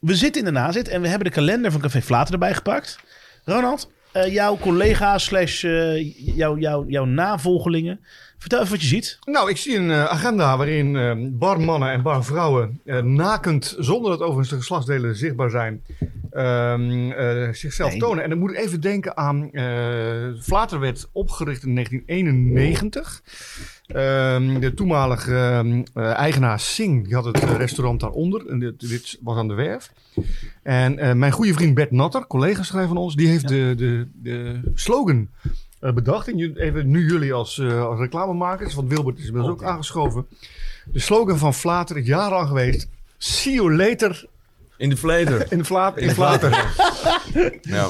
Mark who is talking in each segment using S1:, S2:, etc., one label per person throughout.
S1: We zitten in de nazit en we hebben de kalender van Café Vlater erbij gepakt. Ronald, eh, jouw collega's slash eh, jouw, jouw, jouw navolgelingen. Vertel even wat je ziet.
S2: Nou, ik zie een eh, agenda waarin eh, barmannen en barvrouwen eh, nakend, zonder dat overigens de geslachtsdelen zichtbaar zijn, ehm, eh, zichzelf
S1: Nee.
S2: tonen. En dan moet ik even denken aan eh Vlater werd opgericht in 1991. Ehm, de toenmalige ehm, eh, eigenaar Singh, die had het eh, restaurant daaronder. En dit, dit was aan de werf. En eh, mijn goede vriend Bert Natter, collega-schrijver van ons, die heeft de, de, de slogan eh, bedacht. En ju- even nu jullie als, eh, als reclamemakers, want Wilbert is inmiddels ook aangeschoven. De slogan van Vlater is jarenlang geweest. See you later
S3: In de vleter.
S2: in, Vla in Vlater.
S3: Ja.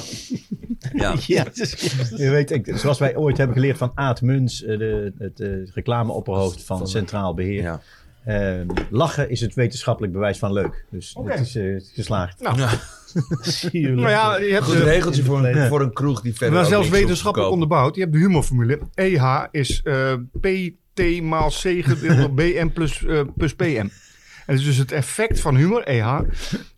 S3: ja.
S1: Ja, het is-
S4: Je weet, ik, zoals wij ooit hebben geleerd van Aad Muns, eh, de, het eh, reclameopperhoofd van Centraal Beheer.
S3: ja.
S4: Eh, lachen is het wetenschappelijk bewijs van leuk. Dus
S2: Oké.
S4: het is eh, geslaagd.
S2: nou,
S3: Ja.
S1: zie je
S2: nou ja, je hebt
S3: Goed
S2: eh,
S3: regeltje voor een, voor een kroeg die verder
S2: Maar zelfs
S3: ook niks hoeft te
S2: wetenschappelijk
S3: verkopen.
S2: onderbouwd. Je hebt de humorformule. EH is eh, PT maal C gedeeld door BM plus, eh, plus PM. En dus het effect van humor, EH,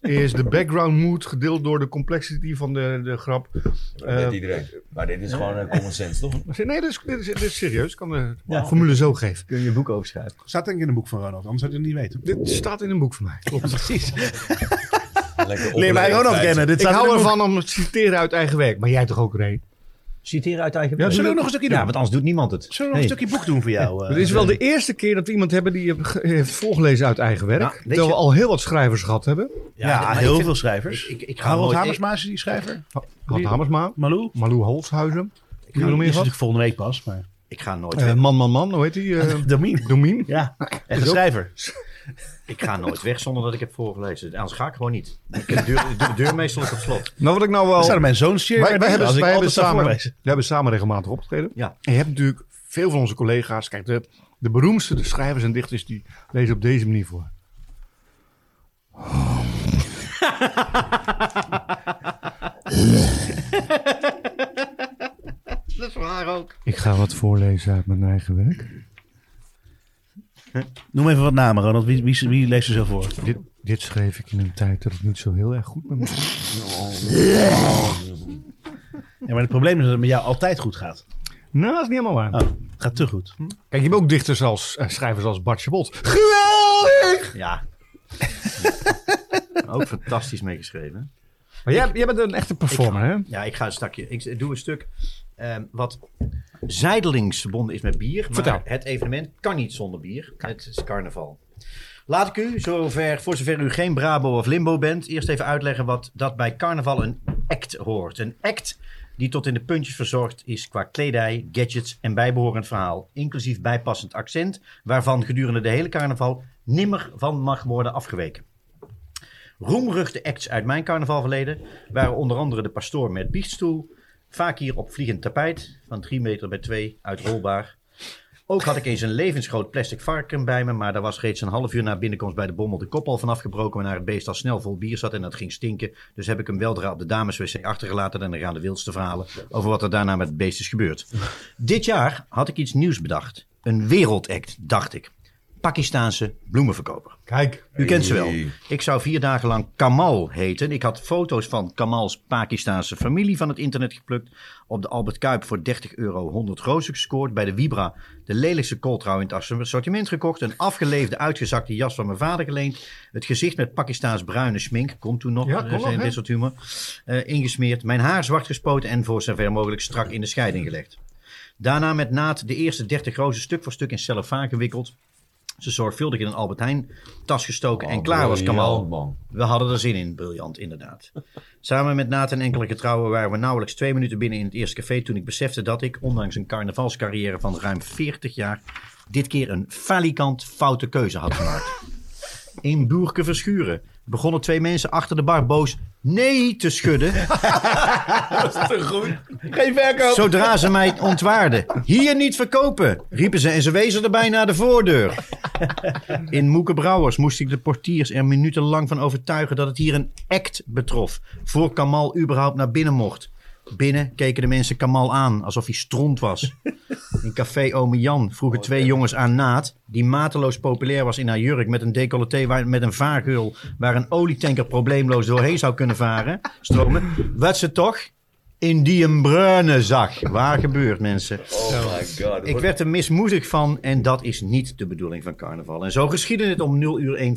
S2: is de background mood gedeeld door de complexity van de, de grap.
S3: Dat
S2: eh,
S3: weet iedereen. Maar dit is gewoon een common sense, toch?
S2: Nee, dit is, dit is, dit is serieus. Ik kan de
S4: Ja.
S2: formule zo geven.
S4: Kun je een boek overschrijven.
S1: staat denk ik in een boek van Ronald, anders zou je het niet weten.
S2: Dit staat in een boek van mij. Klopt.
S1: Precies.
S3: Lekker
S1: Leer mij
S3: opgelegd
S1: Ronald
S3: feit.
S1: kennen. Dit
S2: Ik
S1: staat in
S2: hou
S1: een boek.
S2: ervan om het citeren uit eigen werk. Maar jij toch ook, Ray?
S4: Citeer uit eigen
S2: Ja,
S4: boek.
S1: zullen we nog een stukje
S4: Ja,
S1: doen?
S4: want anders doet niemand het.
S1: Zullen we nog een
S4: Nee.
S1: stukje boek doen voor jou? eh?
S2: Het is wel de eerste keer dat we iemand hebben die heb- heeft voorgelezen uit eigen werk.
S4: Ja, weet
S2: terwijl
S4: je-
S2: we al heel wat schrijvers gehad hebben.
S1: Ja,
S4: Ja, maar ik
S1: heel
S4: vind-
S1: veel schrijvers.
S4: Ik, ik, ik ga
S1: Harold
S4: nooit-
S1: Hamersma is die schrijver.
S2: Had Hamersma,
S1: Malou.
S2: Malou Holshuizen.
S1: Die
S2: Wie er nog meer
S1: is
S2: gehad?
S1: natuurlijk volgende week pas. Maar...
S4: Ik, ik ga nooit,
S2: Eh,
S4: weg,
S2: man, man, man, hoe heet die? eh
S1: Damien.
S2: Domien.
S1: Ehm, Ja, echt een
S2: ook-
S1: schrijver.
S4: ik ga nooit weg zonder dat ik heb voorgelezen. Anders ga ik gewoon niet. Ik heb de deur, ik doe de deur meestal op slot.
S2: Nou, wat ik nou wel.
S1: Staat er mijn zoon zeer
S2: wij, wij hebben,
S1: als ik
S2: wij, hebben
S1: altijd zou
S2: samen, wij
S1: voorlezen.
S2: hebben samen regelmatig opgetreden.
S4: Ja.
S2: En je hebt natuurlijk veel van onze collega's. Kijk, de, de beroemdste de schrijvers en dichters die lezen op deze manier voor.
S4: Dat is waar ook.
S2: Ik ga wat voorlezen uit mijn eigen werk.
S1: Noem even wat namen, Ronald. Wie, wie, wie leest er zo voor?
S2: Dit, dit schreef ik in een tijd dat het niet zo heel erg goed met me ging.
S1: Ja, maar het probleem is dat het met jou altijd goed gaat.
S2: Nou, dat is niet helemaal waar.
S1: Oh, het gaat te goed.
S2: Kijk, je hebt ook dichters als eh, schrijvers als Bart Schabot. Geweldig!
S4: Ja. ook fantastisch meegeschreven.
S2: Maar jij, jij bent een echte performer, hè?
S4: Ja, ik ga een stukje. Ik doe een stuk ehm, wat zijdelings verbonden is met bier. Maar
S2: Vertel.
S4: het evenement kan niet zonder bier. Het is carnaval. Laat ik u, zover, voor zover u geen Brabo of Limbo bent, eerst even uitleggen wat dat bij carnaval een act hoort. Een act die tot in de puntjes verzorgd is qua kledij, gadgets en bijbehorend verhaal. Inclusief bijpassend accent, waarvan gedurende de hele carnaval nimmer van mag worden afgeweken. Roemruchte acts uit mijn carnavalverleden waren onder andere de pastoor met biechtstoel, vaak hier op vliegend tapijt van 3 meter bij 2 uitrolbaar. Ook had ik eens een levensgroot plastic varken bij me, maar daar was reeds een half uur na binnenkomst bij de bommel de kop al van afgebroken, waarna het beest al snel vol bier zat en dat ging stinken. Dus heb ik hem weldra op de dameswc achtergelaten en er gaan de wildste verhalen over wat er daarna met het beest is gebeurd. Dit jaar had ik iets nieuws bedacht. Een wereldact, dacht ik. Pakistaanse bloemenverkoper.
S2: Kijk.
S4: U kent ze wel.
S3: Hey.
S4: Ik zou vier dagen lang Kamal heten. Ik had foto's van Kamals Pakistaanse familie van het internet geplukt. Op de Albert Kuip voor 30 euro 100 rozen gescoord. Bij de Vibra de lelijkste kooltrouw in het assortiment gekocht. Een afgeleefde uitgezakte jas van mijn vader geleend. Het gezicht met Pakistaans bruine smink. Komt toen nog,
S2: Ja,
S4: eh,
S2: kon nog,
S4: zijn
S2: hè?
S4: dit soort humor. Eh, ingesmeerd. Mijn haar zwart gespoten en voor zover mogelijk strak in de scheiding gelegd. Daarna met naad de eerste 30 rozen stuk voor stuk in cellofaan gewikkeld. Ze zorgvuldig in een Albert Heijn tas gestoken
S1: Oh,
S4: en klaar was Kamal.
S3: man.
S4: We hadden er zin in, briljant inderdaad. Samen met Naat en enkele getrouwen waren we nauwelijks twee minuten binnen in het eerste café toen ik besefte dat ik, ondanks een carnavalscarrière van ruim 40 jaar, dit keer een falikant foute keuze had gemaakt. In Boerke Verschuren begonnen twee mensen achter de bar boos nee te schudden
S1: Geen verkoop.
S4: Zodra ze mij ontwaarden. Hier niet verkopen, riepen ze en ze wezen erbij naar de voordeur. In Moeke Brouwers moest ik de portiers er minutenlang van overtuigen dat het hier een act betrof. Voor Kamal überhaupt naar binnen mocht. Binnen keken de mensen Kamal aan, alsof hij stront was. In café Ome Jan vroegen twee jongens aan Naad, die mateloos populair was in haar jurk met een decolleté waar, met een vaargeul waar een olietanker probleemloos doorheen zou kunnen varen, stromen, wat ze toch in die een bruine zag. Waar gebeurt mensen?
S3: Oh my god.
S4: Ik werd er mismoedig van en dat is niet de bedoeling van carnaval. En zo geschiedde het om 0 uur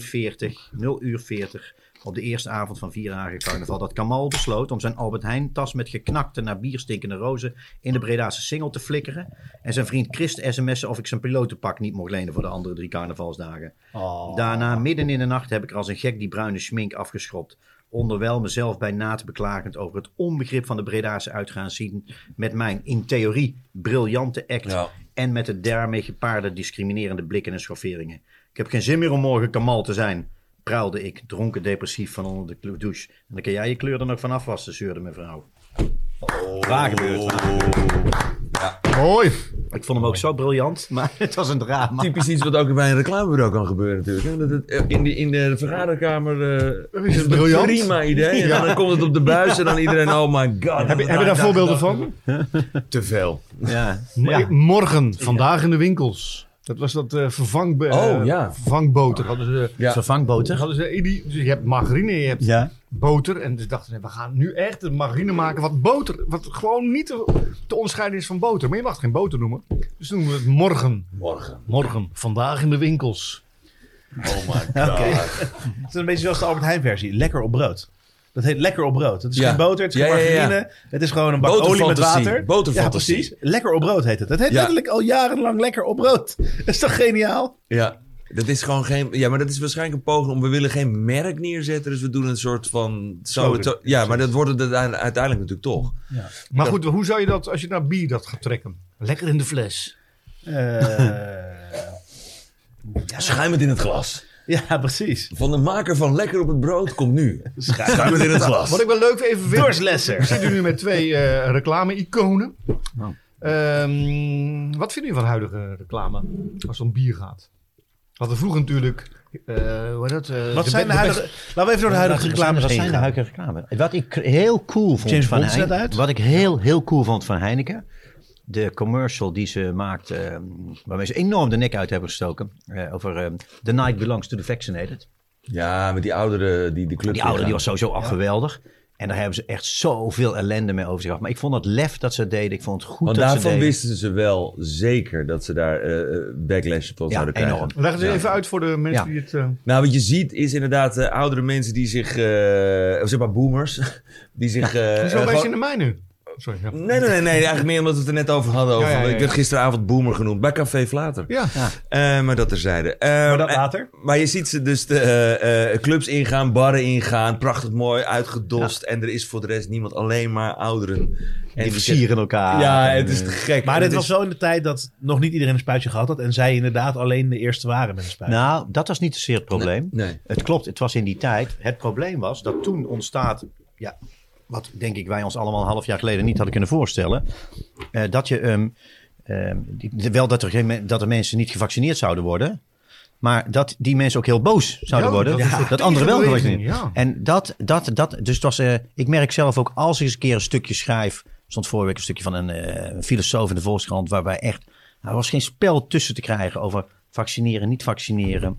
S4: 1.40, 0 uur 40, op de eerste avond van vier dagen carnaval, dat Kamal besloot om zijn Albert Heijn tas met geknakte naar bier stinkende rozen in de Bredaanse singel te flikkeren en zijn vriend Chris te sms'en of ik zijn pilotenpak niet mocht lenen voor de andere drie carnavalsdagen. Daarna, midden in de nacht, heb ik er als een gek die bruine schmink afgeschropt. Onderwijl mezelf bij naad beklagend over het onbegrip van de Bredaanse uitgaan zien met mijn in theorie briljante act
S3: Ja.
S4: en met de daarmee gepaarde discriminerende blikken en schofferingen. Ik heb geen zin meer om morgen kamal te zijn, pruilde ik, dronken depressief van onder de kle- douche. En dan kan jij je kleur er nog van afwassen, zeurde mevrouw. Waar gebeurt het?
S3: Oh.
S2: Mooi.
S4: Ik vond hem ook zo briljant, maar het was een drama.
S3: Typisch iets wat ook bij een reclamebureau kan gebeuren natuurlijk. hè. Dat het eh, in, de, in de vergaderkamer eh, is het
S2: briljant.
S3: een prima idee. En
S2: Ja.
S3: dan komt het op de buis en dan iedereen, oh my god. nou,
S2: Heb je, heb je daar voorbeelden van?
S3: Te veel.
S4: Ja.
S2: Maar ik- Morgen, vandaag in de winkels. Dat was dat eh vervang,
S3: Oh, ja.
S2: vervangboter. Hadden ze,
S3: Ja.
S4: Vervangboter.
S2: hadden ze, in die- dus je hebt margarine, je hebt
S1: Ja.
S2: boter. En dus dachten ze, we gaan nu echt een margarine maken wat boter, wat gewoon niet te, te onderscheiden is van boter. Maar je mag het geen boter noemen. Dus noemen we het morgen.
S3: Morgen.
S2: Morgen, vandaag in de winkels.
S3: Oh my god.
S1: Het is een beetje zoals de Albert Heijn versie. Lekker op brood. Dat heet lekker op brood. Het is
S3: Ja.
S1: geen boter, het is geen
S3: Ja, ja, ja.
S1: margarine. Het is gewoon een bak olie met
S3: Boterfantasie.
S1: water.
S3: Boterfantasie.
S1: Ja, precies. Lekker op brood heet het. Het heet
S3: Ja.
S1: letterlijk al jarenlang lekker op brood. Dat is toch geniaal?
S3: Ja, dat is gewoon geen. Ja, maar dat is waarschijnlijk een poging om. We willen geen merk neerzetten, dus we doen een soort van. Zo,
S1: Slogan.
S3: zo- ja, maar dat wordt het uiteindelijk uiteindelijk natuurlijk toch.
S2: Maar goed, hoe zou je dat als je naar bier dat gaat trekken? Lekker in de fles.
S1: Eh,
S3: Schuimend in het glas.
S1: ja, precies.
S3: Van de maker van Lekker op het Brood komt nu. Schuimend in het
S2: Wat
S3: glas.
S2: ik wel leuk even vind.
S1: Doris
S2: We
S1: Lesser.
S2: zitten nu met twee eh, reclame-iconen.
S1: Nou.
S2: Ehm, wat vind je van huidige reclame als het om bier gaat? Wat er vroeger natuurlijk. eh, hoe heet dat? eh,
S1: Wat
S2: de
S1: zijn de
S2: be-
S1: huidige... Laten we even door de huidige reclames
S4: Wat
S1: heen
S4: zijn de
S1: gaan.
S4: huidige reclame? Wat ik heel cool vond
S1: James
S4: van
S1: Bond is net
S4: Heineken.
S1: uit.
S4: Wat ik heel, heel cool vond van Heineken. De commercial die ze maakt, eh, waarmee ze enorm de nek uit hebben gestoken. eh, over eh, The Night Belongs to the Vaccinated.
S3: Ja, met die ouderen die de club.
S4: Die oude die was
S3: ingaan.
S4: sowieso al geweldig. En daar hebben ze echt zoveel ellende mee over zich gehad. Maar ik vond dat lef dat ze het deden. Ik vond het goed
S3: Want
S4: dat ze
S3: daarvan
S4: deden.
S3: wisten ze wel zeker dat ze daar eh, eh, backlash van
S4: Ja,
S3: zouden krijgen.
S4: enorm.
S2: Leg het even uit voor de mensen
S4: Ja.
S2: die het. eh,
S3: Nou, wat je ziet is inderdaad eh, oudere mensen die zich, eh, of zeg maar boomers, die zich... eh,
S2: Hoezo
S3: eh,
S2: wijs
S3: gewoon-
S2: je naar mij nu? Sorry. Ja.
S3: Nee, nee, nee, nee. Eigenlijk meer omdat we het er net over hadden. Over,
S2: Ja, ja, ja, ja.
S3: Ik werd gisteravond boomer genoemd. Bij Café Vlater.
S2: Ja.
S3: Eh, maar dat terzijde. Eh,
S1: Maar dat
S3: eh,
S1: later.
S3: maar je ziet ze dus de eh, eh, clubs ingaan, barren ingaan. Prachtig mooi, uitgedost. En er is voor de rest niemand, alleen maar ouderen. En
S4: Die
S3: zitten-
S4: versieren elkaar.
S3: Ja,
S4: En,
S3: het is
S4: eh,
S3: te gek.
S1: Maar
S3: En
S1: dit
S3: het
S1: was
S3: is-
S1: zo in de tijd dat nog niet iedereen een spuitje gehad had. En zij inderdaad alleen de eerste waren met een spuitje.
S4: Nou, dat was niet zozeer het probleem.
S3: Nee.
S4: Het klopt, het was in die tijd. Het probleem was dat toen ontstaat, ja, wat denk ik wij ons allemaal een half jaar geleden niet hadden kunnen voorstellen, eh, dat je, ehm, ehm, die- wel dat er, geen, me- dat er mensen niet gevaccineerd zouden worden, maar dat die mensen ook heel boos zouden
S2: Ja,
S4: worden,
S2: dat is een
S4: dat, anderen wel
S2: tegenbeweging,
S4: gevaccineerd.
S2: ja.
S4: En dat, dat, dat, dus het was, eh, ik merk zelf ook als ik eens een keer een stukje schrijf, stond vorige week een stukje van een eh, een filosoof in de Volkskrant, waarbij echt, nou, er was geen spel tussen te krijgen over vaccineren, niet vaccineren.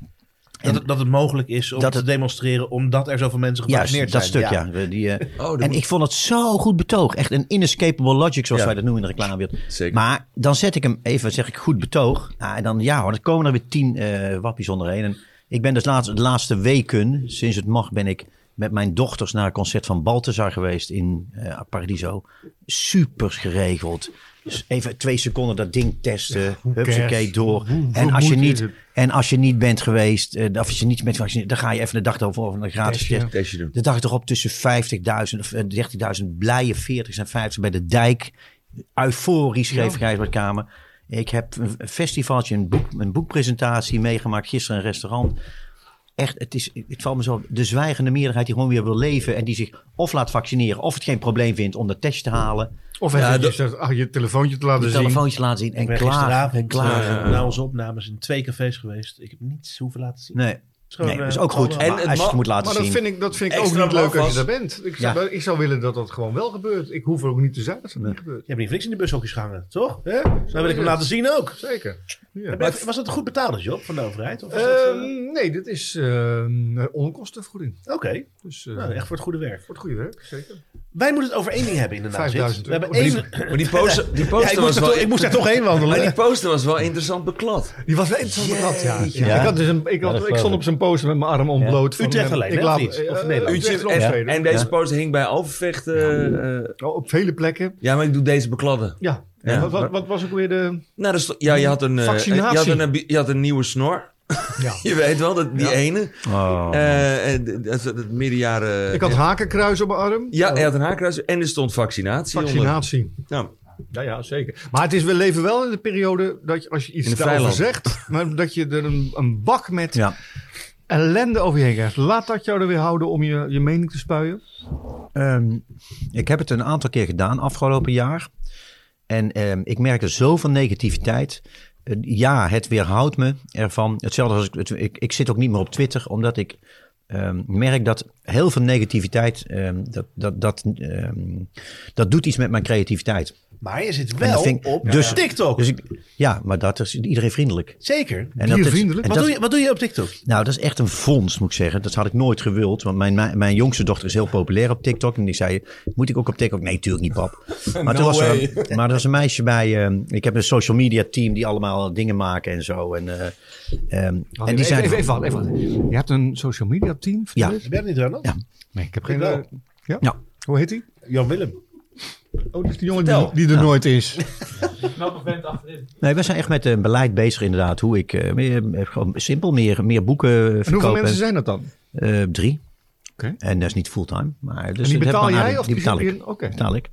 S1: dat, het, dat het mogelijk is om
S4: Dat
S1: te
S4: het-
S1: demonstreren omdat er zoveel mensen
S4: Juist,
S1: gevaccineerd
S4: dat
S1: zijn.
S4: stuk, ja. We- Die, eh,
S3: Oh, dat
S4: en
S3: moet-
S4: ik vond het zo goed betoog. Echt een inescapable logic, zoals
S3: Ja.
S4: wij dat noemen in de reclamewereld.
S3: Zeker.
S4: Maar dan zet ik hem even, zeg ik, goed betoog. Ah, en dan, ja hoor, dan komen er weer tien eh, wappies onderheen. En ik ben dus laatst, de laatste weken, sinds het mag, ben ik met mijn dochters naar een concert van Balthazar geweest in eh, Paradiso. Super geregeld. Dus even twee seconden dat ding testen. Hupsakee
S2: cares?
S4: door.
S2: Hoe
S4: en, als je
S2: vermoeiend is
S4: niet,
S2: het?
S4: en als je niet bent geweest, eh, of als je niet bent gevaccineerd, dan ga je even de dag over over een gratis
S2: Testje.
S4: test.
S3: Testje doen.
S4: De dag erop tussen 50.000 of eh, 30.000 blije 40 en 50 bij de dijk. Euforisch schreef Gijsbert Kamer. Ik heb een een festivaltje, een, boek, een boekpresentatie meegemaakt. Gisteren in een restaurant. Echt, het, is, het valt me zo op. De zwijgende meerderheid die gewoon weer wil leven. En die zich of laat vaccineren. Of het geen probleem vindt om dat testje te halen.
S2: Of
S3: Ja,
S2: even
S3: dat-
S2: je- ach, je telefoontje te laten
S4: De
S2: zien.
S4: telefoontje laten zien.
S1: Ik
S4: En
S1: ben
S4: klaar.
S1: gisteravond
S4: klaar.
S1: eh, na onze opnames in twee cafés geweest. Ik heb niets hoeven laten zien.
S4: Nee.
S1: is gewoon,
S4: Nee, dat is
S1: eh,
S4: ook goed.
S1: allemaal-
S3: En
S4: En
S3: het
S4: als je
S3: mag-
S4: het moet laten
S2: Maar dat
S4: zien.
S2: vind ik, dat vind ik ook
S3: Extra
S2: niet leuk als
S3: afwas.
S2: je daar bent. Ik zou, ik zou willen dat dat gewoon wel gebeurt. Ik hoef er ook niet te zijn als dat niet gebeurt.
S1: Je hebt niet voor niks in de bushokjes gehangen, toch? Hè?
S2: Zo
S1: Dan wil ik
S2: is
S1: hem
S2: het.
S1: laten zien ook.
S2: Zeker. Ja.
S1: Heb je- Was dat een goed betaalde job van de overheid? Of was dat, eh,
S2: Ehm, nee, dit is ehm onkostenvergoeding.
S1: Oké,
S2: Dus eh,
S1: nou, echt voor het goede werk.
S2: voor het goede werk, zeker.
S1: Wij moeten het over één ding hebben inderdaad. Sid.
S2: 5000
S1: We hebben
S2: euro. Oh,
S1: één...
S3: Maar die poster, die
S1: Ja,
S3: poster
S1: ik, moest
S3: was
S1: er
S3: wel...
S1: toch, ik moest daar toch heen
S3: Maar
S1: wandelen.
S3: die poster was wel interessant beklad.
S2: Die was wel interessant beklad, ja.
S3: Jeetje.
S4: Ja.
S2: Ik, had dus een, ik,
S4: Ja,
S2: had,
S4: dat
S2: ik
S4: geloof
S2: stond
S4: ik.
S2: op zijn poster met mijn arm ontbloot. van,
S1: Utrecht
S2: eh,
S1: alleen,
S2: ik
S1: hè,
S2: laat,
S1: of niet?
S2: eh,
S1: Of Nederland?
S2: Utrecht en
S3: en,
S2: Enschede.
S3: en deze poster hing bij Alvervechten. eh, eh,
S2: Oh, op vele plekken.
S3: ja, maar ik doe deze bekladden.
S2: Ja.
S3: Ja.
S2: Wat, wat, wat was ook weer de...
S3: Nou, dat is toch- ja, je had een, eh,
S2: Vaccinatie.
S3: je had een, eh, je had een nieuwe snor.
S2: Ja.
S3: je weet wel, dat, die
S2: Ja.
S3: ene.
S4: Oh.
S3: Eh, eh, d- dat het middenjaren...
S2: Ik had hakenkruis op mijn arm. Nou,
S3: Ja, hij had een haarkruis en er stond vaccinatie, onder.
S2: Vaccinatie.
S3: Nou,
S2: Ja, ja, zeker. Maar het is, we leven wel in de periode dat je, als je
S3: In
S2: iets
S3: de
S2: daarover
S3: vrijland.
S2: zegt, maar dat je er een, een bak met
S4: Ja.
S2: ellende over je heen krijgt. Laat dat jou er weer houden om je, je mening te spuien.
S4: Ehm, ik heb het een aantal keer gedaan afgelopen jaar. En ehm, ik merkte zoveel negativiteit. Eh, ja, het weerhoudt me ervan. Hetzelfde als ik, het- ik. Ik zit ook niet meer op Twitter, omdat ik ehm, merk dat heel veel negativiteit. ehm, dat, dat, dat, ehm, dat doet iets met mijn creativiteit.
S1: Maar je zit
S4: En
S1: wel
S4: dat vind ik-
S1: op
S4: dus-
S1: TikTok.
S4: Dus ik, ja, maar dat is iedereen vriendelijk.
S1: Zeker.
S4: En dat is-
S2: Diervriendelijk?
S4: en
S1: wat,
S4: dat-
S1: doe je, wat doe je op TikTok?
S4: nou, dat is echt een vondst, moet ik zeggen. Dat had ik nooit gewild. Want mijn, mijn, mijn jongste dochter is heel populair op TikTok. En die zei, moet ik ook op TikTok? Nee, tuurlijk niet, pap. Maar,
S3: No
S4: toen was er,
S3: way.
S4: een- maar er was een meisje bij... ehm, ik heb een social media team die allemaal dingen maken en zo. En, eh, ehm, en die
S2: Oh, even,
S4: zijn...
S2: even, even, wachten, even, wachten. Je hebt een social media team? vertel
S4: Ja.
S2: eens?
S1: Je bent niet Ronald?
S4: Ja.
S2: Nee, ik heb
S1: Ik
S2: geen...
S1: wel.
S2: eh, ja?
S4: Ja.
S2: Hoe heet die?
S1: Jan Willem.
S2: Oh, dat is die jongen
S3: Vertel.
S2: die, die er nooit is.
S5: Knappe vent achterin.
S4: Nee, we zijn echt met een beleid bezig inderdaad. Hoe ik... eh, meer, eh, gewoon simpel meer, meer boeken verkopen.
S2: En hoeveel mensen zijn dat dan?
S4: Eh, drie.
S2: Oké.
S4: En dat is niet fulltime.
S2: en
S4: Maar, dus
S2: die
S4: dat heb
S2: betaal
S4: ik maar aan-
S2: jij? Of
S4: die betaal ik.
S2: zit hier- Oké.
S4: betaal ik.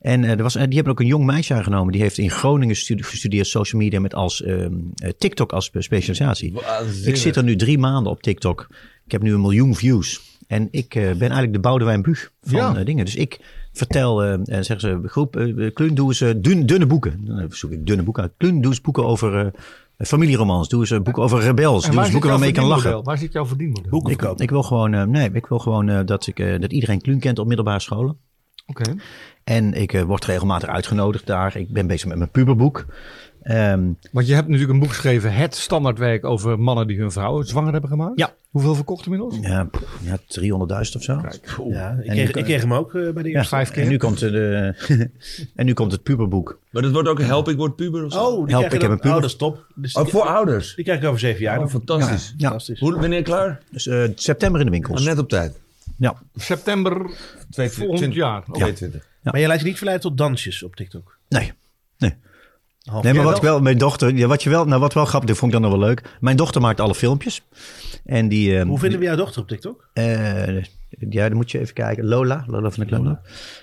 S4: En eh, er was, eh, die hebben ook een jong meisje aangenomen. Die heeft in Groningen studie, gestudeerd social media met als ehm, eh, TikTok als eh, specialisatie.
S3: waanzinnig.
S4: Ik zit er nu drie maanden op TikTok. Ik heb nu een miljoen views. En ik eh, ben eigenlijk de Boudewijn Buug van
S2: Ja.
S4: eh, dingen. Dus ik vertel, eh, en zeggen ze, groep, eh Kluun, doe eens eh, dun, dunne boeken. Dan eh, zoek ik dunne boeken uit. Kluun, doe eens boeken over eh familieromans. Doe eens eh, boeken over rebels.
S2: En
S4: Doe
S2: waar
S4: eens
S2: zit jouw
S4: boeken waarmee je kan lachen.
S2: verdienmodel? Waar zit jouw verdienmodel?
S4: Ik, ik wil gewoon, eh, nee, ik wil gewoon eh, dat, ik, eh, dat iedereen Kluun kent op middelbare scholen.
S2: Oké.
S4: En ik eh, word regelmatig uitgenodigd daar. Ik ben bezig met mijn puberboek. Ehm,
S2: Want je hebt natuurlijk een boek geschreven, het standaardwerk over mannen die hun vrouwen zwanger hebben gemaakt.
S4: Ja.
S2: Hoeveel verkocht inmiddels?
S4: ja, pff, ja 300.000 of zo.
S1: Ja, ik,
S4: En
S1: kreeg,
S4: nu kan-
S1: ik kreeg hem ook eh, bij de
S4: Ja,
S1: eerste.
S2: vijf keer.
S4: En nu komt, eh, de, en nu komt het puberboek.
S3: Maar dat wordt ook help, ik word puber of zo.
S1: Oh, die
S4: Help,
S1: krijg je
S4: ik heb
S1: dan-
S4: een puber.
S1: Oh, dat is top. Dus die,
S3: Oh, voor ouders.
S1: die krijg ik over zeven jaar.
S3: Oh,
S1: dan.
S3: fantastisch.
S4: Ja,
S1: Fantastisch.
S3: Hoe, wanneer klaar?
S4: dus, eh, september in de winkels.
S3: Ah, net op tijd.
S4: Ja.
S2: September volgend
S3: 22.
S2: jaar. Oké.
S3: 22.
S1: Maar jij laat je niet verleiden tot dansjes op TikTok.
S4: Nee. Nee.
S1: Half
S4: nee, maar
S2: wel?
S4: wat ik wel, mijn dochter, ja, wat je wel, nou wat wel grappig, dit vond ik dan nog wel leuk. Mijn dochter maakt alle filmpjes. En die, ehm,
S1: Hoe vinden we jouw dochter op TikTok?
S4: Eh, ja, dan moet je even kijken. Lola, Lola van de Kloon.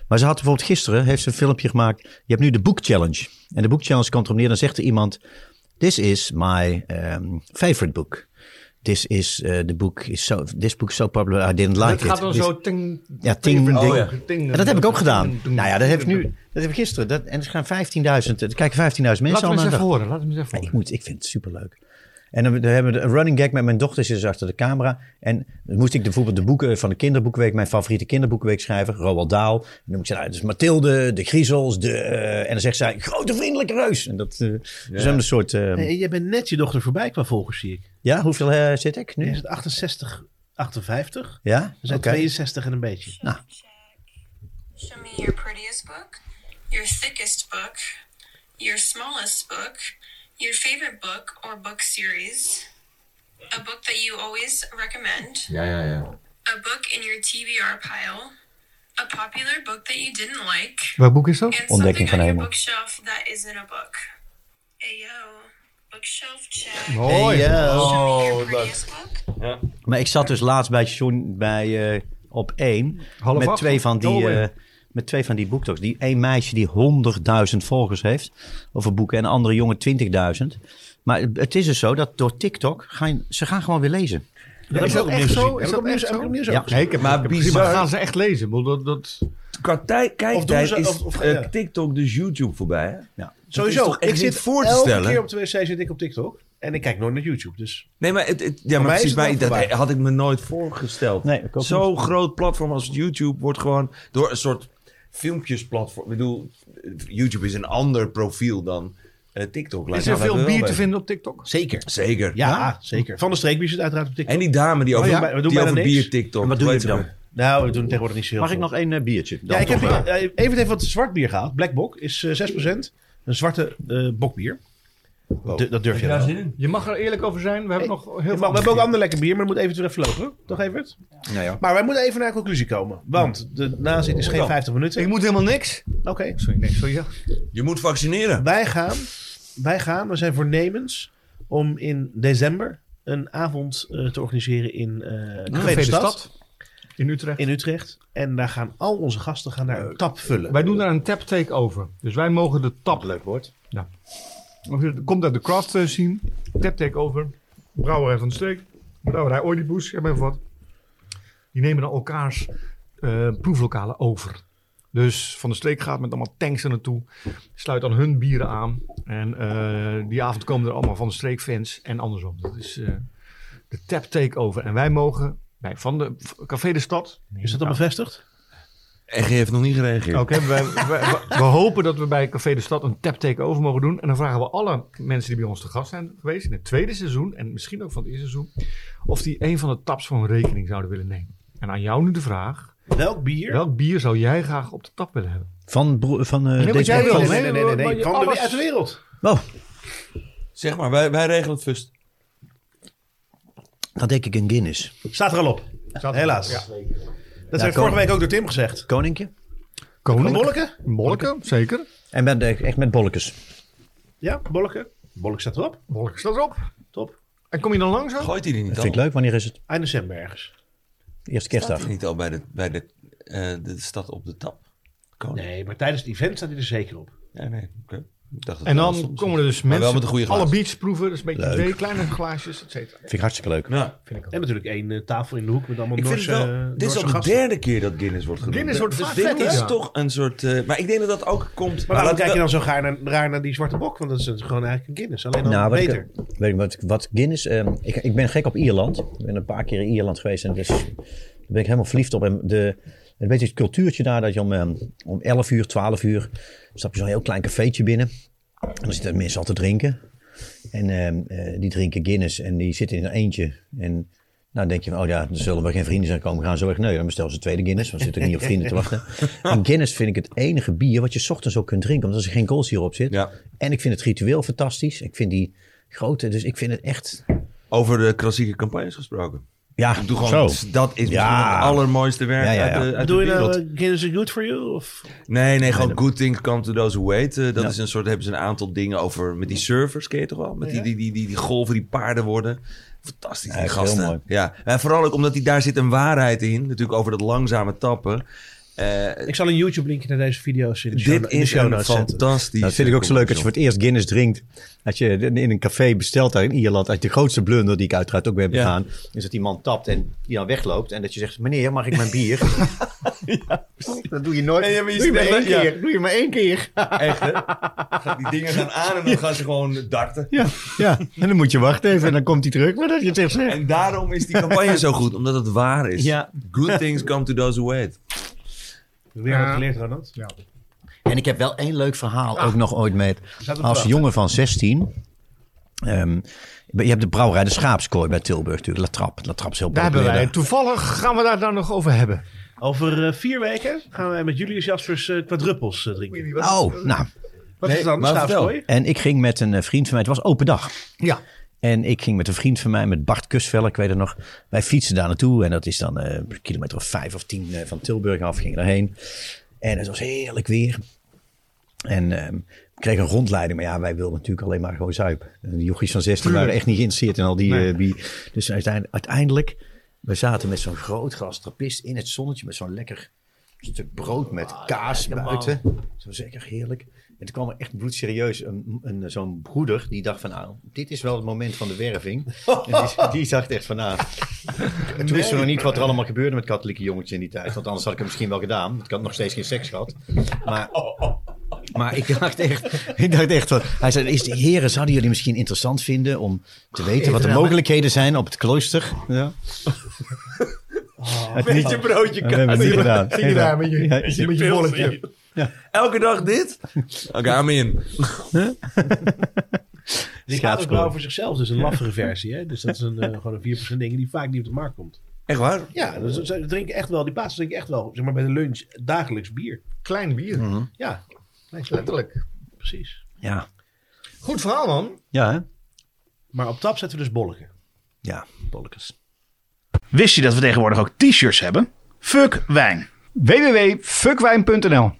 S4: Maar ze had bijvoorbeeld gisteren heeft ze een filmpje gemaakt. Je hebt nu de boek challenge. En de boek challenge komt erop neer. Dan zegt er iemand: This is my ehm, favorite book. This is eh the book is so this book is so popular I didn't like
S2: Het
S4: it.
S2: gaat dan
S4: This-
S2: zo Oh, ting,
S4: Ja, ting,
S2: ting,
S4: ding.
S2: ting, ting.
S4: En dat heb ik ook gedaan.
S2: Ting, ting,
S4: Nou ja, dat heb ik nu.
S2: ting.
S4: Dat heb ik gisteren. Dat, en er gaan 15.000. Er kijken 15.000
S2: Laten
S4: mensen al
S2: we
S4: naar
S2: eens
S4: de-
S2: even horen. Laten we eens even
S4: ja, ik,
S2: horen.
S4: moet, ik vind het superleuk. En dan, dan hebben we een running gag met mijn dochter, ze is achter de camera. En dan moest ik bijvoorbeeld de boeken van de kinderboekenweek, mijn favoriete kinderboekenweek schrijven, Roald Daal. En dan moet ik zeggen, nou, dus Mathilde, de Griezels, de... eh, en dan zegt zij, grote vriendelijke reus. En dat eh, dus hebben we een soort... eh,
S1: Nee, jij bent net je dochter voorbij qua volgers, zie ik.
S4: ja, hoeveel eh, zit ik
S1: Nu is
S4: nu?
S1: het 68, 58.
S4: Ja?
S1: We zijn
S4: Oké.
S1: 62 en een beetje.
S6: Show me your prettiest book, your thickest book, your smallest book, your favorite book or book series, a book that you always recommend,
S3: Ja, ja, ja.
S6: a book in your TBR pile, a popular book that you didn't like,
S2: Welk boek is dat?
S6: and
S4: Ontdekking
S6: something
S4: van
S6: on your
S4: Hemel.
S6: bookshelf that isn't a book. Ayo, bookshelf check.
S2: Mooi.
S4: ja.
S6: Show me
S3: Oh,
S6: your
S3: wat
S6: prettiest book.
S4: Maar ik zat dus laatst bij John bij, eh, op één.
S2: Half
S4: met,
S2: acht,
S4: twee van die,
S2: oktober.
S4: eh, met twee van die boektoks. Die één meisje die 100.000 volgers heeft over boeken. En een andere jongen 20.000. Maar het- het is dus zo dat door TikTok gaan ze gaan gewoon weer lezen.
S1: Dat heb
S2: Is
S1: ik ook
S2: dat
S1: opnieuw
S2: echt
S1: gezien.
S2: zo?
S1: Heb
S2: Is
S1: ik
S2: dat
S1: opnieuw-
S2: echt
S1: heb ik
S2: zo?
S1: opnieuw zo.
S4: Ja.
S1: gezien.
S2: Nee, ik heb
S3: Maar
S2: maar
S3: bizar.
S2: bizar. gaan ze echt lezen. Ik bedoel, Dat, dat,
S3: Qua tij- kijktijd
S1: Of doen ze-
S3: is
S1: of- of-
S3: eh,
S1: ja.
S3: TikTok dus YouTube voorbij, hè?
S4: Ja.
S3: is
S1: Sowieso,
S3: toch echt
S1: ik zit
S3: niet voor te
S1: elke
S3: stellen?
S1: keer op de wc zit ik op TikTok. En ik kijk nooit naar YouTube, dus...
S3: Nee, maar, het, het- ja,
S1: mij
S3: maar
S1: is
S3: precies,
S1: het wel
S3: maar dat
S1: voorbij.
S3: had ik me nooit voorgesteld.
S4: Nee, ik ook
S3: Zo'n groot platform als YouTube wordt gewoon door een soort filmpjesplatform. Ik bedoel, YouTube is een ander profiel dan eh, TikTok. lijkt
S2: Is er
S3: me dat
S2: veel
S3: wel
S2: bier
S3: bij.
S2: te vinden op TikTok?
S7: Zeker.
S3: Zeker.
S1: Ja, zeker. Van de Streekbier zit uiteraard op TikTok.
S3: En die dame die over,
S1: Oh ja, we doen
S3: die
S1: bijna
S3: over
S1: niks.
S3: bier TikTok.
S7: En wat doe
S3: hoe
S7: je
S3: heet
S7: dan?
S3: ze
S1: Nou, we doen tegenwoordig niet zo heel
S7: Mag ik
S1: veel.
S7: nog één eh, biertje? Dan
S1: Ja, ik
S7: toch
S1: heb
S7: maar.
S1: eh, even even wat zwart bier gehaald. Black Bok is eh, 6%. Een zwarte eh, bokbier. D- dat durf je wel.
S3: in?
S2: Je mag er eerlijk over zijn. We hebben
S1: Hey,
S2: nog heel
S1: Maar
S2: veel.
S1: we hebben ook ander lekker bier, maar dat moet eventueel even lopen. Toch Evert?
S7: Ja,
S4: Nou
S7: ja.
S1: Maar wij moeten even naar een conclusie komen. Want de nazit is geen
S2: Ja.
S1: 50 minuten.
S2: Oh. Ik moet helemaal niks.
S1: Oké. dus
S2: Sorry, nee, sorry. Ja.
S3: Je moet vaccineren.
S1: Wij gaan, wij gaan, we zijn voornemens om in december een avond eh, te organiseren in eh de Tweede
S2: Tweede
S1: Stad,
S2: stad. In Utrecht.
S1: in Utrecht. En daar gaan al onze gasten gaan daar een tap vullen.
S2: Wij doen daar een tap take over. Dus wij mogen de tap. Leuk woord. Ja. Of je- Komt uit de craft eh, scene. Tap take over. Brouwerij van de Streek. Brouwerij Oedipus. Ik heb even wat. Die nemen dan elkaars eh, proeflokalen over. Dus Van de Streek gaat met allemaal tanks er naartoe. Sluit dan hun bieren aan. En eh, die avond komen er allemaal Van de Streek fans. En andersom. Dat is eh, de tap take over. En wij mogen bij Van de Café de Stad.
S1: Is dat al bevestigd?
S3: En je heeft nog niet
S4: Oh.
S3: gereageerd.
S2: Oké, we, we- we- we hopen dat we bij Café de Stad een tap takeover mogen doen. En dan vragen we alle mensen die bij ons te gast zijn geweest in het tweede seizoen en misschien ook van het eerste seizoen, of die een van de taps van rekening zouden willen nemen. En aan jou nu de vraag:
S1: Welk bier?
S2: welk bier zou jij graag op de tap willen hebben?
S4: Van, bro- van eh,
S2: Nee, want
S4: deze
S2: jij wil-
S1: nee,
S4: podcast.
S1: nee, nee, nee, nee, nee.
S2: Maar je-
S1: Van de,
S2: alles-
S1: uit de wereld.
S4: Oh,
S3: Zeg maar, wij, wij regelen het first.
S4: dan denk ik een Guinness.
S1: Staat er al op. Helaas. Dat
S4: Ja,
S1: heb ik vorige
S4: komen.
S1: week ook door Tim gezegd.
S4: Koninkje.
S1: Een
S2: Koning?
S1: bolleke?
S2: Molken, zeker.
S4: En met, eh, echt met bolletjes.
S1: Ja, bolleke. Bolleke staat erop.
S2: Molken staat erop.
S1: Top.
S2: En kom je dan langs?
S3: Gooit hij die niet
S4: Dat
S3: al?
S4: vind ik leuk. Wanneer is het?
S1: Eind december ergens.
S3: Staat
S4: Eerste kerstdag.
S3: hij niet al bij de, bij de, eh, de stad op de tap? Koning.
S1: Nee, maar tijdens het event staat hij er zeker op.
S3: Ja, nee. oké. Ik dacht dat
S2: En
S3: wel
S2: dan
S3: soms-
S2: komen er dus
S3: Maar wel
S2: mensen.
S3: met een goede
S2: alle
S3: glazen.
S2: biertjes proeven, dus een beetje
S4: Leuk.
S2: twee kleine glaasjes, et cetera.
S4: Vind ik hartstikke leuk.
S3: Ja.
S1: En natuurlijk één eh, tafel in de hoek met allemaal
S3: Ik vind het
S1: Noorse,
S3: wel, dit is
S1: Noorse
S3: al de
S1: eh, gasten.
S3: derde keer dat Guinness wordt genoemd.
S2: Guinness wordt
S3: Dus
S2: vaak
S3: Dit
S2: genoemd,
S3: is
S2: ja.
S3: toch een soort... eh, maar ik denk dat dat ook komt...
S1: Maar waarom
S3: laten
S1: kijk je
S3: we-
S1: dan zo gaar naar, raar naar die zwarte bok? Want dat is dus gewoon eigenlijk een Guinness. Alleen dan
S4: Nou, wat,
S1: beter.
S4: ik, weet ik, wat, wat Guinness... ehm, ik, ik ben gek op Ierland. Ik ben een paar keer in Ierland geweest. En dus, daar ben ik helemaal verliefd op. En de, een beetje het cultuurtje daar. Dat je om, ehm, om 11 uur, 12 uur... stap je zo'n heel klein cafeetje binnen. En dan zitten mensen al te drinken. En ehm, eh, die drinken Guinness. En die zitten in een eentje. En nou dan denk je van... Oh ja, dan zullen we geen vrienden zijn komen. Gaan zo weg. Nee, dan bestel ze een tweede Guinness. Want ze zitten niet op vrienden te wachten. En Guinness vind ik het enige bier... wat je 's ochtends ook kunt drinken. Omdat er geen koolzuur op zit.
S3: Ja.
S4: En ik vind het ritueel fantastisch. Ik vind die grote, dus ik vind het echt...
S3: Over de klassieke campagnes gesproken.
S4: Ja,
S3: Doe gewoon, dat is misschien
S4: Ja.
S3: het allermooiste werk
S4: Ja, ja, ja.
S3: uit de, uit
S1: Bedoel
S3: de
S1: je
S3: wereld.
S1: nou eh, Guinness is good for you? Of?
S3: Nee, nee, gewoon good things come to those who wait. Eh, dat is een soort, hebben ze een aantal dingen over met die servers, ken je toch wel? Met die, die, die, die, die golven die paarden worden. Fantastisch, die
S4: Ja, is heel
S3: gasten.
S4: mooi.
S3: Ja, en vooral ook omdat die, daar zit een waarheid in, natuurlijk over dat langzame tappen. Eh,
S1: Ik zal een YouTube linkje naar deze video's in de show, in
S3: dit
S1: de
S3: is
S1: show
S3: een
S1: notes zetten.
S3: fantastisch.
S4: dat vind ik ook zo leuk als je voor het eerst Guinness drinkt. Dat je in een café bestelt daar in Ierland. Uit de grootste blunder die ik uiteraard ook ben
S3: Ja.
S4: begaan. Is dat die man tapt en die dan wegloopt. En dat je zegt, meneer mag ik mijn bier? dat doe je nooit.
S3: Nee, ja, maar je
S4: doe, je maar
S3: zegt dat-
S4: één
S3: ja.
S4: keer, doe je maar één keer.
S3: Echt, hè? Die dingen gaan aan en dan gaan ze gewoon darten.
S4: Ja, ja, en dan moet je wachten even en dan komt hij terug. Maar dat je het echt zegt.
S3: En daarom is die campagne zo goed, omdat het waar is.
S4: Ja.
S3: Good things come to those who wait.
S1: Weer wat geleerd, Ronald.
S4: En ik heb wel één leuk verhaal ook nog ooit mee.
S1: Laten we
S4: Als
S1: praten.
S4: jongen van 16. ehm, je hebt de brouwerij de Schaapskooi bij Tilburg natuurlijk. La Trappe. La Trappe is heel
S2: Daar hebben wij.
S4: populair
S2: Toevallig gaan we daar dan nog over hebben.
S1: Over eh, vier weken gaan wij met Julius Jaspers eh quadruppels eh, drinken.
S4: daar. Oh, nou.
S1: Wat is het dan?
S3: maar
S1: Schaapskooi?
S4: En ik ging met een eh, vriend van mij. Het was open dag.
S2: Ja.
S4: En ik ging met een vriend van mij, met Bart Kusvelle, ik weet het nog. Wij fietsen daar naartoe en dat is dan eh, een kilometer of vijf of tien eh, van Tilburg af, gingen daarheen. En het was heerlijk weer. En ehm we kregen een rondleiding, maar ja, wij wilden natuurlijk alleen maar gewoon zuipen. En de jochies van 16 waren echt niet geïnteresseerd in al die eh, bier. Dus uiteindelijk, uiteindelijk, we zaten met zo'n groot glas trappist in het zonnetje, met zo'n lekker stuk brood met kaas buiten. Zo zeker heerlijk. En toen kwam er echt bloedserieus een, een, zo'n broeder die dacht van nou, dit is wel het moment van de werving. En die, die dacht echt van nou, toen wisten we nog niet wat er allemaal gebeurde met katholieke jongetjes in die tijd. Want anders had ik het misschien wel gedaan. want Ik had nog steeds geen seks gehad. Maar Maar ik dacht echt, ik dacht echt van, hij zei, is die heren, zouden jullie misschien interessant vinden om te weten wat de mogelijkheden zijn op het klooster? Ja. Met je broodje We hebben het niet gedaan.
S2: Zit je daar met je, met je, bolletje?
S3: Elke dag dit? Oké, I'm in.
S1: Die gaat ook wel voor zichzelf, dus een laffere versie. Hè? Dus dat is een, eh, gewoon een 4% ding die vaak niet op de markt komt.
S3: Echt waar?
S1: Ja, dus ze drinken echt wel, die paas drinken echt wel, zeg maar bij de lunch, dagelijks bier.
S2: Klein bier.
S1: Ja,
S2: Letterlijk.
S1: precies.
S4: Ja,
S2: Goed verhaal, man.
S4: ja, hè?
S1: Maar op tap zetten we dus bolken.
S4: ja, bollekes.
S8: Wist je dat we tegenwoordig ook t-shirts hebben? Fuck wijn.
S9: www.fuckwijn.nl